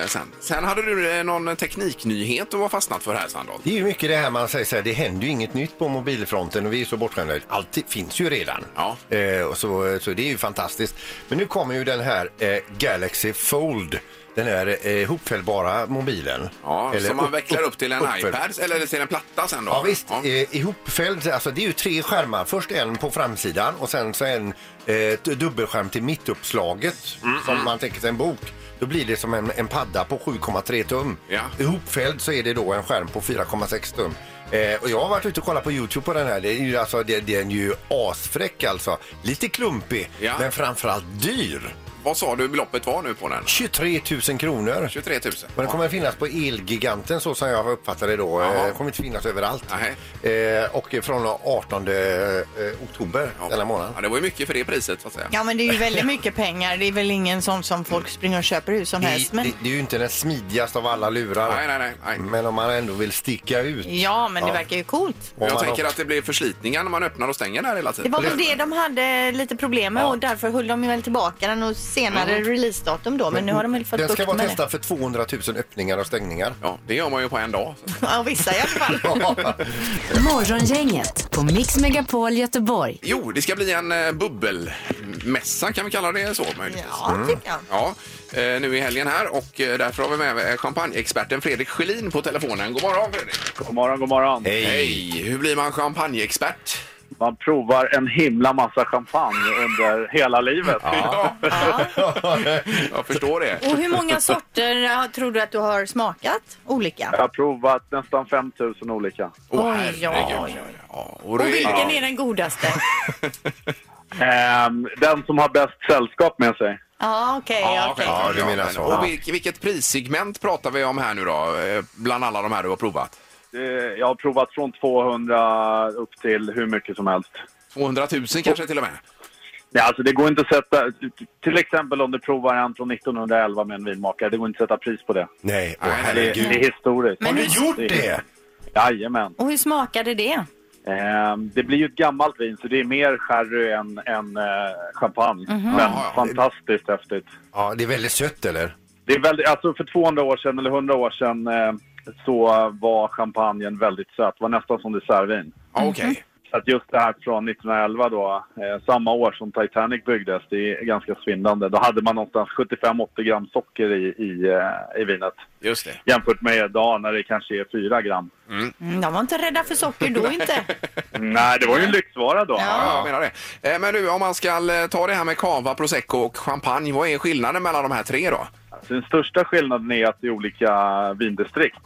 [SPEAKER 1] Eh, sen. sen hade du eh, någon tekniknyhet du var fastnat för här Sandholt.
[SPEAKER 3] Det är ju mycket det här man säger så här, det händer ju inget nytt på mobilfronten och vi är så bortskämda. Allt finns ju redan.
[SPEAKER 1] Ja.
[SPEAKER 3] Eh, och så, så det är ju fantastiskt. Men nu kommer ju den här eh, Galaxy Fold den här eh, hopfällbara mobilen.
[SPEAKER 1] Ja, som man
[SPEAKER 3] upp-
[SPEAKER 1] vecklar upp till en
[SPEAKER 3] uppfälld.
[SPEAKER 1] iPad eller till en platta sen då?
[SPEAKER 3] Ja visst,
[SPEAKER 1] Ja.
[SPEAKER 3] Eh, ihopfälld. Alltså, det är ju tre skärmar. Först en på framsidan och sen så en eh, ett dubbelskärm till mittuppslaget
[SPEAKER 1] Mm,
[SPEAKER 3] som man tänker sig en bok. Då blir det som en, en padda på 7,3 tum.
[SPEAKER 1] Ja.
[SPEAKER 3] Ihopfälld så är det då en skärm på 4,6 tum. Eh, och jag har varit ute och kollat på Youtube på den här. Det är ju, alltså, det, den är ju asfräck alltså. Lite klumpig,
[SPEAKER 1] Ja.
[SPEAKER 3] men framförallt dyr.
[SPEAKER 1] Vad sa du beloppet var nu på den?
[SPEAKER 3] 23 000 kronor.
[SPEAKER 1] 23 000.
[SPEAKER 3] Men den kommer att finnas på Elgiganten så som jag uppfattar det då.
[SPEAKER 1] Jaha.
[SPEAKER 3] Eh, Den kommer inte finnas överallt. Eh, och från 18 eh, oktober
[SPEAKER 1] Ja.
[SPEAKER 3] denna månad.
[SPEAKER 1] Ja, det var ju mycket för det priset så att säga.
[SPEAKER 2] Ja men det är ju väldigt mycket pengar. Det är väl ingen sån som folk springer och köper hur som
[SPEAKER 3] Det,
[SPEAKER 2] helst. Men...
[SPEAKER 3] det, det är ju inte den smidigaste av alla lurar.
[SPEAKER 1] Nej, nej, nej, nej.
[SPEAKER 3] Men om man ändå vill sticka ut.
[SPEAKER 2] Ja men det
[SPEAKER 3] Ja.
[SPEAKER 2] verkar ju coolt.
[SPEAKER 3] Om
[SPEAKER 1] Jag
[SPEAKER 3] man
[SPEAKER 1] tänker
[SPEAKER 3] har-
[SPEAKER 1] att det blir förslitningar när man öppnar och stänger där hela
[SPEAKER 2] Det
[SPEAKER 1] tiden.
[SPEAKER 2] var väl det de hade lite problem med och därför höll de ju väl tillbaka den och senare releasedatum då. Men nu har de väl fått
[SPEAKER 3] Den ska
[SPEAKER 2] bukt
[SPEAKER 3] vara
[SPEAKER 2] med
[SPEAKER 3] testad för 200 000 öppningar och stängningar.
[SPEAKER 1] Ja, det gör man ju på en dag. Så.
[SPEAKER 2] det. Ja, vissa i alla fall.
[SPEAKER 4] Morgongänget på Mix Megapol Göteborg.
[SPEAKER 1] Jo, det ska bli en eh, bubbelmässa, kan vi kalla det så möjligtvis?
[SPEAKER 2] Ja, tycker jag.
[SPEAKER 1] Ja, eh, nu i helgen här och eh, därför har vi med eh, champagneexperten Fredrik Schelin på telefonen. God morgon Fredrik!
[SPEAKER 8] God morgon, god morgon.
[SPEAKER 3] Hej.
[SPEAKER 1] Hej! Hur blir man champagneexpert?
[SPEAKER 8] Man provar en himla massa champagne under hela livet.
[SPEAKER 1] Ja. Jag förstår det.
[SPEAKER 10] Och hur många sorter?
[SPEAKER 2] Ja, Tror du att du har smakat olika?
[SPEAKER 8] Jag har provat nästan 5000 olika.
[SPEAKER 1] Åh,
[SPEAKER 2] Oj,
[SPEAKER 1] herregud.
[SPEAKER 2] oj, oj.
[SPEAKER 1] Ja, och då
[SPEAKER 10] Och
[SPEAKER 1] är-
[SPEAKER 10] vilken
[SPEAKER 1] ja.
[SPEAKER 10] är den godaste?
[SPEAKER 8] Ehm, den som har bäst sällskap med sig.
[SPEAKER 2] Ja, okej.
[SPEAKER 1] Ja,
[SPEAKER 2] okej.
[SPEAKER 1] självklart,
[SPEAKER 3] Ja, du menar
[SPEAKER 1] men-
[SPEAKER 3] så.
[SPEAKER 1] Och vilk, vilket prissegment pratar vi om här nu då, eh, bland alla de här du har provat?
[SPEAKER 8] Eh, Jag har provat från 200 upp till hur mycket som helst.
[SPEAKER 1] 200 000 kanske till och med?
[SPEAKER 8] Nej, alltså det går inte att sätta... Till exempel om du provar en från 1911 med en vinmakare. Det går inte att sätta pris på det.
[SPEAKER 3] Nej, åh
[SPEAKER 1] Nej,
[SPEAKER 8] Det,
[SPEAKER 3] herregud.
[SPEAKER 8] det är historiskt.
[SPEAKER 3] Har du gjort det?
[SPEAKER 8] Jajamän.
[SPEAKER 10] Och hur smakade det?
[SPEAKER 8] Ehm, Det blir ju ett gammalt vin, så det är mer sherry än, än eh, champagne. Men
[SPEAKER 1] Ja, ja.
[SPEAKER 8] fantastiskt häftigt.
[SPEAKER 3] Ja, det är väldigt sött eller?
[SPEAKER 8] Det är väldigt, alltså för 200 år sedan eller 100 år sedan eh, så var champagnen väldigt söt. Det var nästan som dessertvin.
[SPEAKER 1] Ja, Okej.
[SPEAKER 8] Så att just det här från 1911 då, eh, samma år som Titanic byggdes, det är ganska svindlande. Då hade man någonstans 75-80 gram socker i, i, eh, i vinet.
[SPEAKER 1] Just det.
[SPEAKER 8] Jämfört med idag när det kanske är 4 gram.
[SPEAKER 2] Mm, De var inte rädda för socker då inte.
[SPEAKER 8] Mm, Nej, det var ju en lyxvara då.
[SPEAKER 1] Ja, jag menar det. Eh, Men du, om man ska eh, ta det här med cava, prosecco och champagne, vad är skillnaden mellan de här tre då?
[SPEAKER 8] Så Den största skillnaden är att det är olika vindistrikt.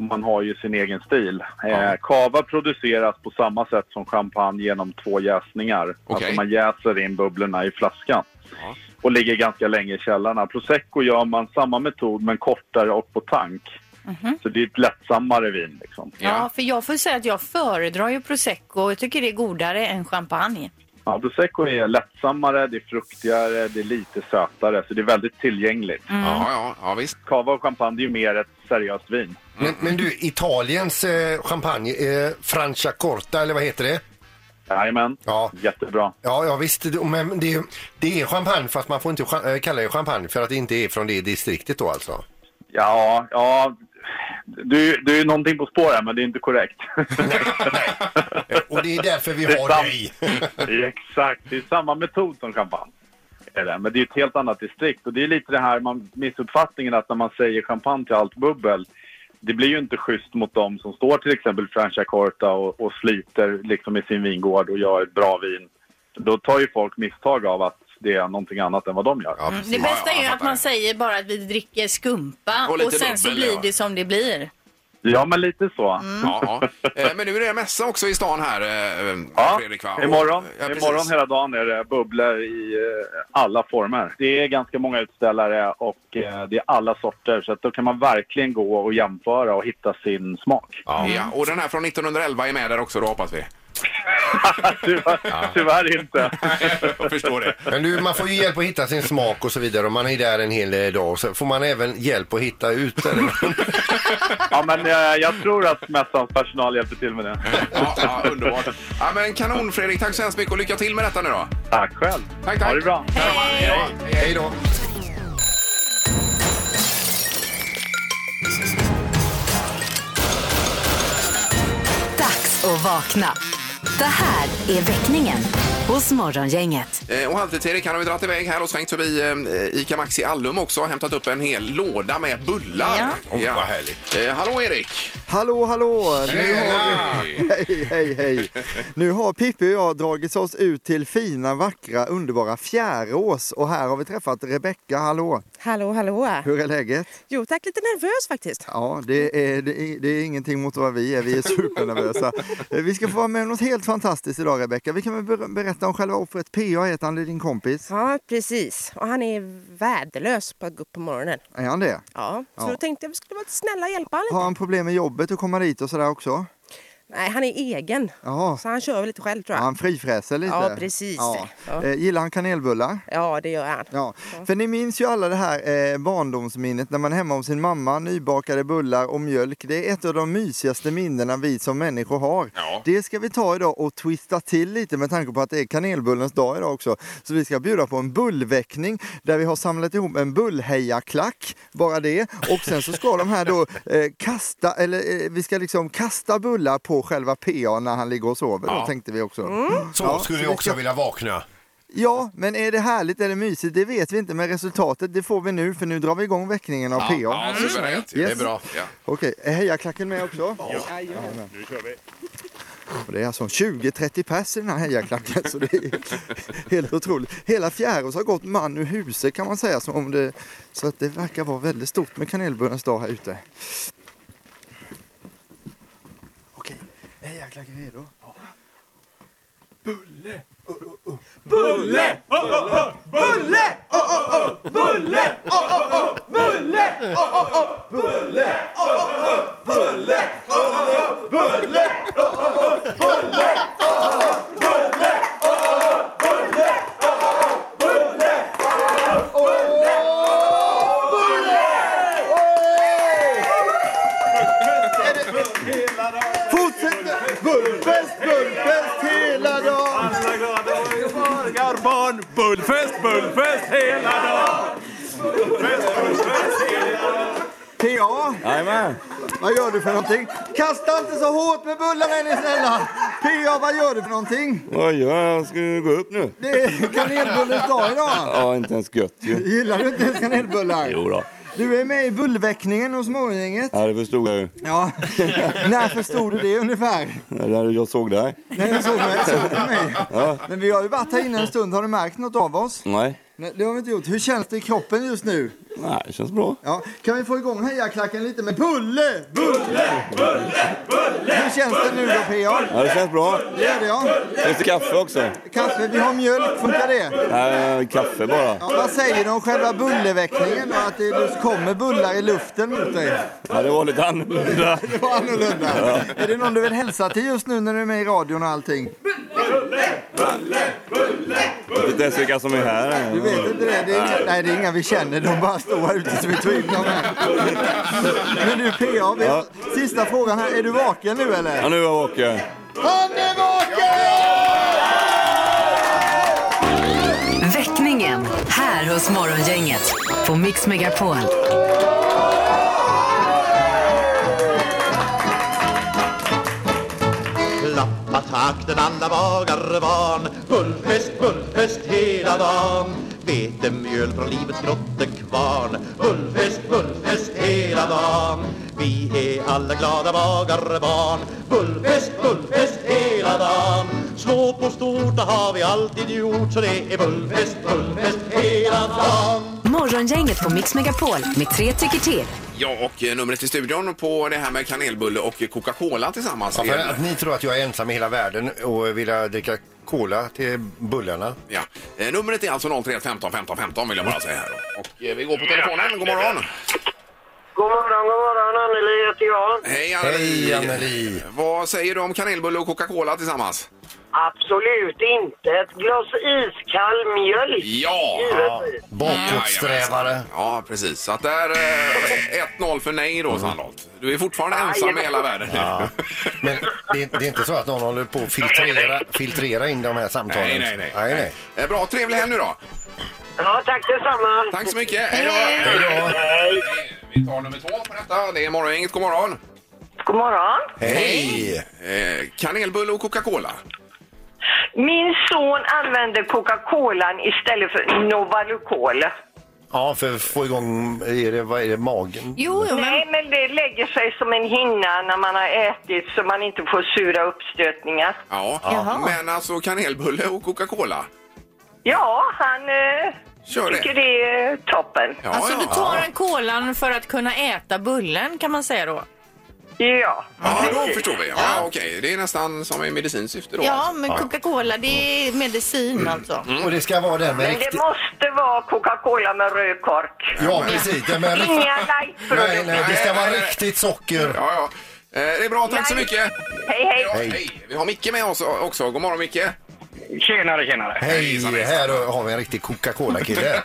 [SPEAKER 8] Man har ju sin egen stil. Eh, kava produceras på samma sätt som champagne genom två jäsningar.
[SPEAKER 1] Okej.
[SPEAKER 8] Alltså man jäser in bubblorna i flaskan
[SPEAKER 1] Ja.
[SPEAKER 8] och ligger ganska länge i källarna. Prosecco gör man samma metod men kortare och på tank.
[SPEAKER 1] Mhm.
[SPEAKER 8] Så det är ett lättsammare vin. Liksom.
[SPEAKER 10] Ja, för jag får säga att jag föredrar ju prosecco och jag tycker det är godare än champagne.
[SPEAKER 8] Ja, prosecco är lättsammare, det är fruktigare, det är lite sötare. Så det är väldigt tillgängligt.
[SPEAKER 1] Ja, ja, ja visst.
[SPEAKER 8] Kava och champagne det är ju mer ett seriöst vin.
[SPEAKER 3] Men, men du, Italiens eh, champagne, eh, Franciacorta eller vad heter det?
[SPEAKER 8] Jajamän,
[SPEAKER 3] Ja.
[SPEAKER 8] jättebra.
[SPEAKER 3] Ja, ja visst. Det- Men det, är- det är champagne fast man får inte cha- eh, kalla det champagne för att det inte är från det distriktet då alltså.
[SPEAKER 8] Ja, ja. Du, du är någonting på spåren, men det är inte korrekt.
[SPEAKER 3] Eh, Och det är därför vi
[SPEAKER 8] Det är
[SPEAKER 3] har
[SPEAKER 8] sant.
[SPEAKER 3] dig.
[SPEAKER 8] Det är Exakt, det är samma metod som champagne. Är det. Men det är ett helt annat distrikt. Och det är lite det här man, missuppfattningen att när man säger champagne till allt bubbel, det blir ju inte schysst mot dem som står till exempel Franciacorta och, och sliter liksom i sin vingård och gör ett bra vin. Då tar ju folk misstag av att det är någonting annat än vad de gör.
[SPEAKER 3] Ja,
[SPEAKER 10] Det
[SPEAKER 3] precis.
[SPEAKER 10] bästa
[SPEAKER 1] ja, jag
[SPEAKER 10] är ju att
[SPEAKER 1] fattar.
[SPEAKER 10] man säger bara att vi dricker skumpa
[SPEAKER 1] Och
[SPEAKER 10] och,
[SPEAKER 1] lite
[SPEAKER 10] sen så
[SPEAKER 1] bubbel,
[SPEAKER 10] blir
[SPEAKER 1] ja.
[SPEAKER 10] det som det blir.
[SPEAKER 8] Ja, men lite så.
[SPEAKER 1] Mm. Ja, ja. Eh, Men nu är det mässa också i stan här, eh,
[SPEAKER 8] Ja,
[SPEAKER 1] Fredrik. Va?
[SPEAKER 8] imorgon,
[SPEAKER 1] Ja, precis.
[SPEAKER 8] imorgon hela dagen är det bubblor i eh, alla former. Det är ganska många utställare och eh, det är alla sorter så att då kan man verkligen gå och jämföra och hitta sin smak.
[SPEAKER 1] Ja, och den här från 1911 är med där också då hoppas vi.
[SPEAKER 8] tyvärr, tyvärr inte.
[SPEAKER 1] Jag förstår det.
[SPEAKER 3] Men du, man får ju hjälp att hitta sin smak och så vidare och man är där en hel eh, dag. Så får man även hjälp att hitta ut eller?
[SPEAKER 8] Ja, men eh, jag tror att mässans personal hjälper till med det.
[SPEAKER 1] Ja, ja, underbart. Ja, men kanon Fredrik, tack så hemskt mycket och lycka till med detta nu då.
[SPEAKER 8] Tack själv.
[SPEAKER 1] Tack, tack.
[SPEAKER 8] Ha det bra.
[SPEAKER 3] Hej då.
[SPEAKER 4] Dags att vakna. Det här är väckningen hos Morgongänget.
[SPEAKER 1] Eh, Och Halvtids-Erik han har ju dragit iväg här och svängt förbi eh, ICA Maxi Allum också och hämtat upp en hel låda med bullar.
[SPEAKER 2] Ja.
[SPEAKER 3] Åh, vad härligt.
[SPEAKER 1] Eh, hallå Erik!
[SPEAKER 5] Hallå, hallå! Nu har vi... Hej, hej, hej! Nu har Pippi och jag dragits oss ut till fina, vackra, underbara Fjärås och här har vi träffat Rebecka. Hallå!
[SPEAKER 11] Hallå, hallå!
[SPEAKER 5] Hur är läget?
[SPEAKER 11] Jo tack, lite nervös faktiskt.
[SPEAKER 5] Ja, det är, det, är, det är ingenting mot vad vi är. Vi är supernervösa. Eh, Vi ska få vara med om något helt fantastiskt idag, Rebecka. Vi kan väl ber- berätta om själva offret. PA heter han, det är din kompis.
[SPEAKER 11] Ja, precis. Och han är värdelös på att gå upp på morgonen.
[SPEAKER 5] Är han det?
[SPEAKER 11] Ja, så
[SPEAKER 5] Ja.
[SPEAKER 11] då tänkte jag att vi skulle vara lite snälla och hjälpa honom
[SPEAKER 5] Har han problem med jobbet och komma dit och sådär också?
[SPEAKER 11] lite. Nej, han är egen.
[SPEAKER 5] Jaha.
[SPEAKER 11] Så han kör väl lite själv tror jag.
[SPEAKER 5] Han frifräser lite.
[SPEAKER 11] Ja, precis. Ja.
[SPEAKER 5] Eh, Gillar han kanelbullar?
[SPEAKER 11] Ja, det gör han.
[SPEAKER 5] Ja, för ni minns ju alla det här eh, barndomsminnet när man är hemma hos sin mamma, nybakade bullar och mjölk. Det är ett av de mysigaste minnena vi som människor har.
[SPEAKER 1] Ja.
[SPEAKER 5] Det ska vi ta idag och twista till lite med tanke på att det är kanelbullens dag idag också. Så vi ska bjuda på en bullväckning där vi har samlat ihop en bullhejaklack, bara det. Och sen så ska de här då eh, kasta, eller eh, vi ska liksom kasta bullar på själva PA när han ligger och sover
[SPEAKER 1] Ja.
[SPEAKER 5] då tänkte vi också.
[SPEAKER 3] Så
[SPEAKER 5] Ja,
[SPEAKER 3] skulle
[SPEAKER 5] så
[SPEAKER 3] jag
[SPEAKER 5] det
[SPEAKER 3] också
[SPEAKER 5] ska-
[SPEAKER 3] vilja vakna.
[SPEAKER 5] Ja, men är det härligt, är det mysigt? Det vet vi inte, men resultatet det får vi nu för nu drar vi igång väckningen av PA.
[SPEAKER 1] Ja, suveränt. Det är
[SPEAKER 5] Yes.
[SPEAKER 1] bra. Ja.
[SPEAKER 5] Okej, är hejaklacken med också? Ja, nu kör vi. Och det är alltså 20-30 pers i den här hejaklacken, så det är helt otroligt. Hela Fjärås har gått man ur huset kan man säga, som om det, så att det verkar vara väldigt stort med kanelbullens dag här ute. Okej, är hejaklacken redo? Fortsätt med bullfest, bullfest hela dagen!
[SPEAKER 8] Barn, bullfest, bullfest hela dagen!
[SPEAKER 5] PA,
[SPEAKER 8] Jajamän!
[SPEAKER 5] vad gör du för någonting? Kasta inte så hårt med bullarna är ni snälla! PA, vad gör du för någonting?
[SPEAKER 8] Oj, jag ska ju gå upp nu.
[SPEAKER 5] Det är kanelbullens dag idag.
[SPEAKER 8] Ja, inte ens gött ju.
[SPEAKER 5] Gillar du inte ens kanelbullar?
[SPEAKER 8] Jo då.
[SPEAKER 5] Du är med i bullväckningen hos Morgongänget.
[SPEAKER 8] Ja, det förstod jag ju.
[SPEAKER 5] Ja. När förstod du det ungefär?
[SPEAKER 8] När jag såg det här.
[SPEAKER 5] När du såg mig. Såg du mig. Men vi har ju varit här inne en stund. Har du märkt något av oss?
[SPEAKER 8] Nej.
[SPEAKER 5] Nej, det har vi inte gjort. Hur känns det i kroppen just nu?
[SPEAKER 8] Nej, det känns bra.
[SPEAKER 5] Ja, kan vi få igång hejaklacken lite med Bulle? Bulle, Bulle, Bulle! Hur känns det nu då PA?
[SPEAKER 8] Ja, det känns bra.
[SPEAKER 5] Gör det ja.
[SPEAKER 8] Finns det kaffe också?
[SPEAKER 5] Kaffe, vi har mjölk, funkar det?
[SPEAKER 8] Nej, kaffe bara.
[SPEAKER 5] Ja, vad säger du om själva bulleväckningen då? Att det det kommer bullar i luften mot dig?
[SPEAKER 8] Ja, det var lite annorlunda.
[SPEAKER 5] Det var annorlunda. Är det någon du vill hälsa till just nu när du är med i radion och allting?
[SPEAKER 8] Jag vet inte ens vilka som är här.
[SPEAKER 5] Du vet inte det? det är inga, nej, det är inga vi känner. De bara står här ute så vi tog in dem här. Men du PA, vet,
[SPEAKER 8] Ja.
[SPEAKER 5] sista frågan här. Är du vaken nu
[SPEAKER 8] Ja,
[SPEAKER 5] eller?
[SPEAKER 8] nu är jag vaken.
[SPEAKER 5] Han är vaken!
[SPEAKER 4] Väckningen här hos Morgongänget på Mix Megapol.
[SPEAKER 12] Klappa takten alla bagare barn Bullfest, bullfest hela dagen Vetemjöl från livets grottekvarn Bullfest, bullfest hela dagen Vi är alla glada bagare barn Bullfest, bullfest hela dagen Slå på stort, det har vi alltid gjort Så det är bullfest, bullfest hela dagen
[SPEAKER 4] Morgongänget på Mix Megapol med tre tycker till.
[SPEAKER 1] ja, och eh, numret till studion på det här med kanelbulle och Coca-Cola tillsammans.
[SPEAKER 3] Ja, för
[SPEAKER 1] är-
[SPEAKER 3] att ni tror att jag är ensam i hela världen och vill dricka cola till bullarna.
[SPEAKER 1] Ja. Eh, Numret är alltså 03 15 15 15 vill jag bara säga här. då. Och eh, vi går på telefonen. God morgon!
[SPEAKER 7] God morgon, god morgon. Anneli heter jag.
[SPEAKER 1] Hej Eh,
[SPEAKER 3] Hej Anneli!
[SPEAKER 1] Vad säger du om kanelbulle och Coca-Cola tillsammans?
[SPEAKER 7] Absolut inte. Ett glas iskall mjölk.
[SPEAKER 1] Ja!
[SPEAKER 7] Givetvis.
[SPEAKER 3] Bakåtsträvare.
[SPEAKER 1] Ja, precis. Så att det är eh, 1-0 för nej då, Sandholt. Du är fortfarande ensam i hela världen. Ja.
[SPEAKER 3] Men det, det är inte så att någon håller på att filtrera, filtrera in de här samtalen?
[SPEAKER 1] Nej, nej, nej.
[SPEAKER 3] nej, nej.
[SPEAKER 1] Eh, Bra, trevlig helg nu då.
[SPEAKER 7] Ja, tack detsamma.
[SPEAKER 1] Tack så mycket. Hej då. Eh, Vi tar nummer två på detta. Det är Morgongänget. God morgon.
[SPEAKER 6] God morgon.
[SPEAKER 3] Hej!
[SPEAKER 1] Eh, kanelbulle och Coca-Cola.
[SPEAKER 8] Min son använder Coca-Colan istället för Novalucol.
[SPEAKER 3] Ja, för att få igång, är det, vad är det, magen?
[SPEAKER 8] Nej, men det lägger sig som en hinna när man har ätit så man inte får sura uppstötningar.
[SPEAKER 1] Ja.
[SPEAKER 8] Jaha.
[SPEAKER 1] Men alltså kanelbulle och Coca-Cola?
[SPEAKER 8] Ja, han eh,
[SPEAKER 1] Kör det.
[SPEAKER 8] tycker det är toppen.
[SPEAKER 1] Alltså, ja.
[SPEAKER 2] Du tar en kolan för att kunna äta bullen kan man säga då.
[SPEAKER 8] Ja.
[SPEAKER 1] Ja, då förstår vi. Ja, Okej, det är nästan som i medicinskt syfte då.
[SPEAKER 2] Ja,
[SPEAKER 1] alltså.
[SPEAKER 2] men Coca-Cola det är medicin alltså.
[SPEAKER 3] Och det ska vara den med
[SPEAKER 8] Men
[SPEAKER 3] riktigt...
[SPEAKER 8] det måste vara Coca-Cola med röd kork.
[SPEAKER 3] Ja, precis. Den med riktigt...
[SPEAKER 8] Inga lightprodukter.
[SPEAKER 3] Nej, nej, det ska vara riktigt socker.
[SPEAKER 1] Ja, ja. Eh, Det är bra, tack så mycket.
[SPEAKER 8] Hej, hej.
[SPEAKER 1] Ja, hej. Vi har Micke med oss också. God morgon Micke.
[SPEAKER 13] Tjenare, tjenare.
[SPEAKER 3] Hej, här har vi en riktig Coca-Cola-kille.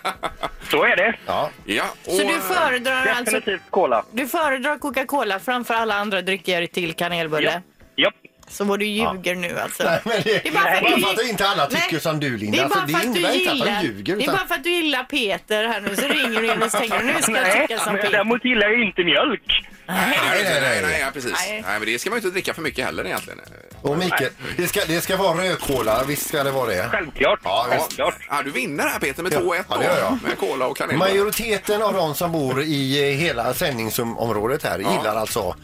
[SPEAKER 13] Så är det.
[SPEAKER 3] Ja.
[SPEAKER 1] ja
[SPEAKER 2] Så du föredrar alltså
[SPEAKER 13] Definitivt cola.
[SPEAKER 2] du föredrar Coca-Cola framför alla andra drycker till kanelbulle?
[SPEAKER 13] Japp.
[SPEAKER 2] Så vad du ljuger nu alltså.
[SPEAKER 3] Nej, men det,
[SPEAKER 2] Det är bara för att du-
[SPEAKER 3] att inte alla tycker
[SPEAKER 2] Nej.
[SPEAKER 3] som du, Linda.
[SPEAKER 2] det är bara
[SPEAKER 3] för
[SPEAKER 2] för att du
[SPEAKER 3] innebär inte att
[SPEAKER 2] gillar,
[SPEAKER 3] man ljuger.
[SPEAKER 2] det är
[SPEAKER 3] utan-
[SPEAKER 2] bara för att du gillar Peter här nu så ringer du in och så tänker du, nu ska jag
[SPEAKER 13] Nej,
[SPEAKER 2] tycka som
[SPEAKER 13] men
[SPEAKER 2] Peter.
[SPEAKER 13] Däremot gillar jag inte mjölk.
[SPEAKER 1] Nej, nej, nej, nej, nej, ja, precis.
[SPEAKER 2] Nej.
[SPEAKER 1] Nej. men det ska man ju inte dricka för mycket heller egentligen.
[SPEAKER 3] Och Mikael, det ska, det ska vara rödkola, visst ska det vara det?
[SPEAKER 13] Självklart.
[SPEAKER 3] Ja, visst.
[SPEAKER 1] Ja, du vinner här Peter med 2-1
[SPEAKER 3] Ja,
[SPEAKER 1] då.
[SPEAKER 3] det gör jag.
[SPEAKER 1] Med cola och kanel.
[SPEAKER 3] Majoriteten av de som bor i eh, hela sändningsområdet här gillar alltså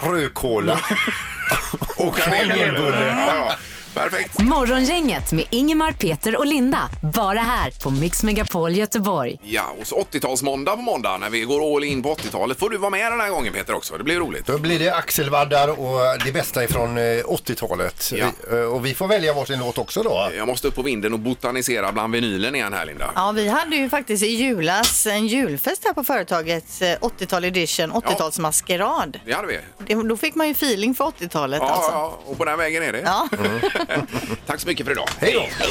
[SPEAKER 3] rödkola och kanelbulle.
[SPEAKER 1] Ja, ja. Perfekt.
[SPEAKER 4] Morgongänget med Ingemar, Peter och Linda. Bara här på Mix Megapol Göteborg.
[SPEAKER 1] Ja, och så 80-talsmåndag på måndag när vi går all in på 80-talet. Får du vara med den här gången Peter också. Det blir roligt.
[SPEAKER 3] Då blir det axelvaddar och det bästa ifrån eh, 80-talet. Eh, Och vi får välja varsin låt också då.
[SPEAKER 1] Jag måste upp på vinden och botanisera bland vinylen igen här Linda.
[SPEAKER 2] Ja, vi hade ju faktiskt i julas en julfest här på företaget, eh, 80-tal edition, 80-talsmaskerad.
[SPEAKER 1] Det hade vi.
[SPEAKER 2] Det- Då fick man ju feeling för 80-talet
[SPEAKER 1] Ja,
[SPEAKER 2] alltså.
[SPEAKER 1] ja, och på den vägen är det.
[SPEAKER 2] Ja.
[SPEAKER 1] Tack så mycket för idag. Hej då!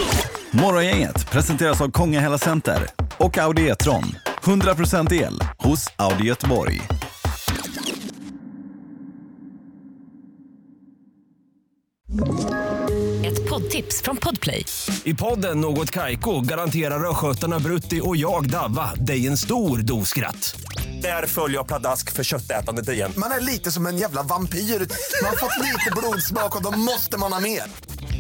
[SPEAKER 14] Morgongänget presenteras av Kongahälla Center och Audi E-tron. 100% el hos Audi Göteborg.
[SPEAKER 15] Ett poddtips från Podplay.
[SPEAKER 16] I podden Något Kaiko garanterar östgötarna Brutti och jag, Davva, dig en stor dos skratt. Där följer jag pladask för köttätandet igen.
[SPEAKER 5] Man är lite som en jävla vampyr. Man har fått lite blodsmak och då måste man ha mer.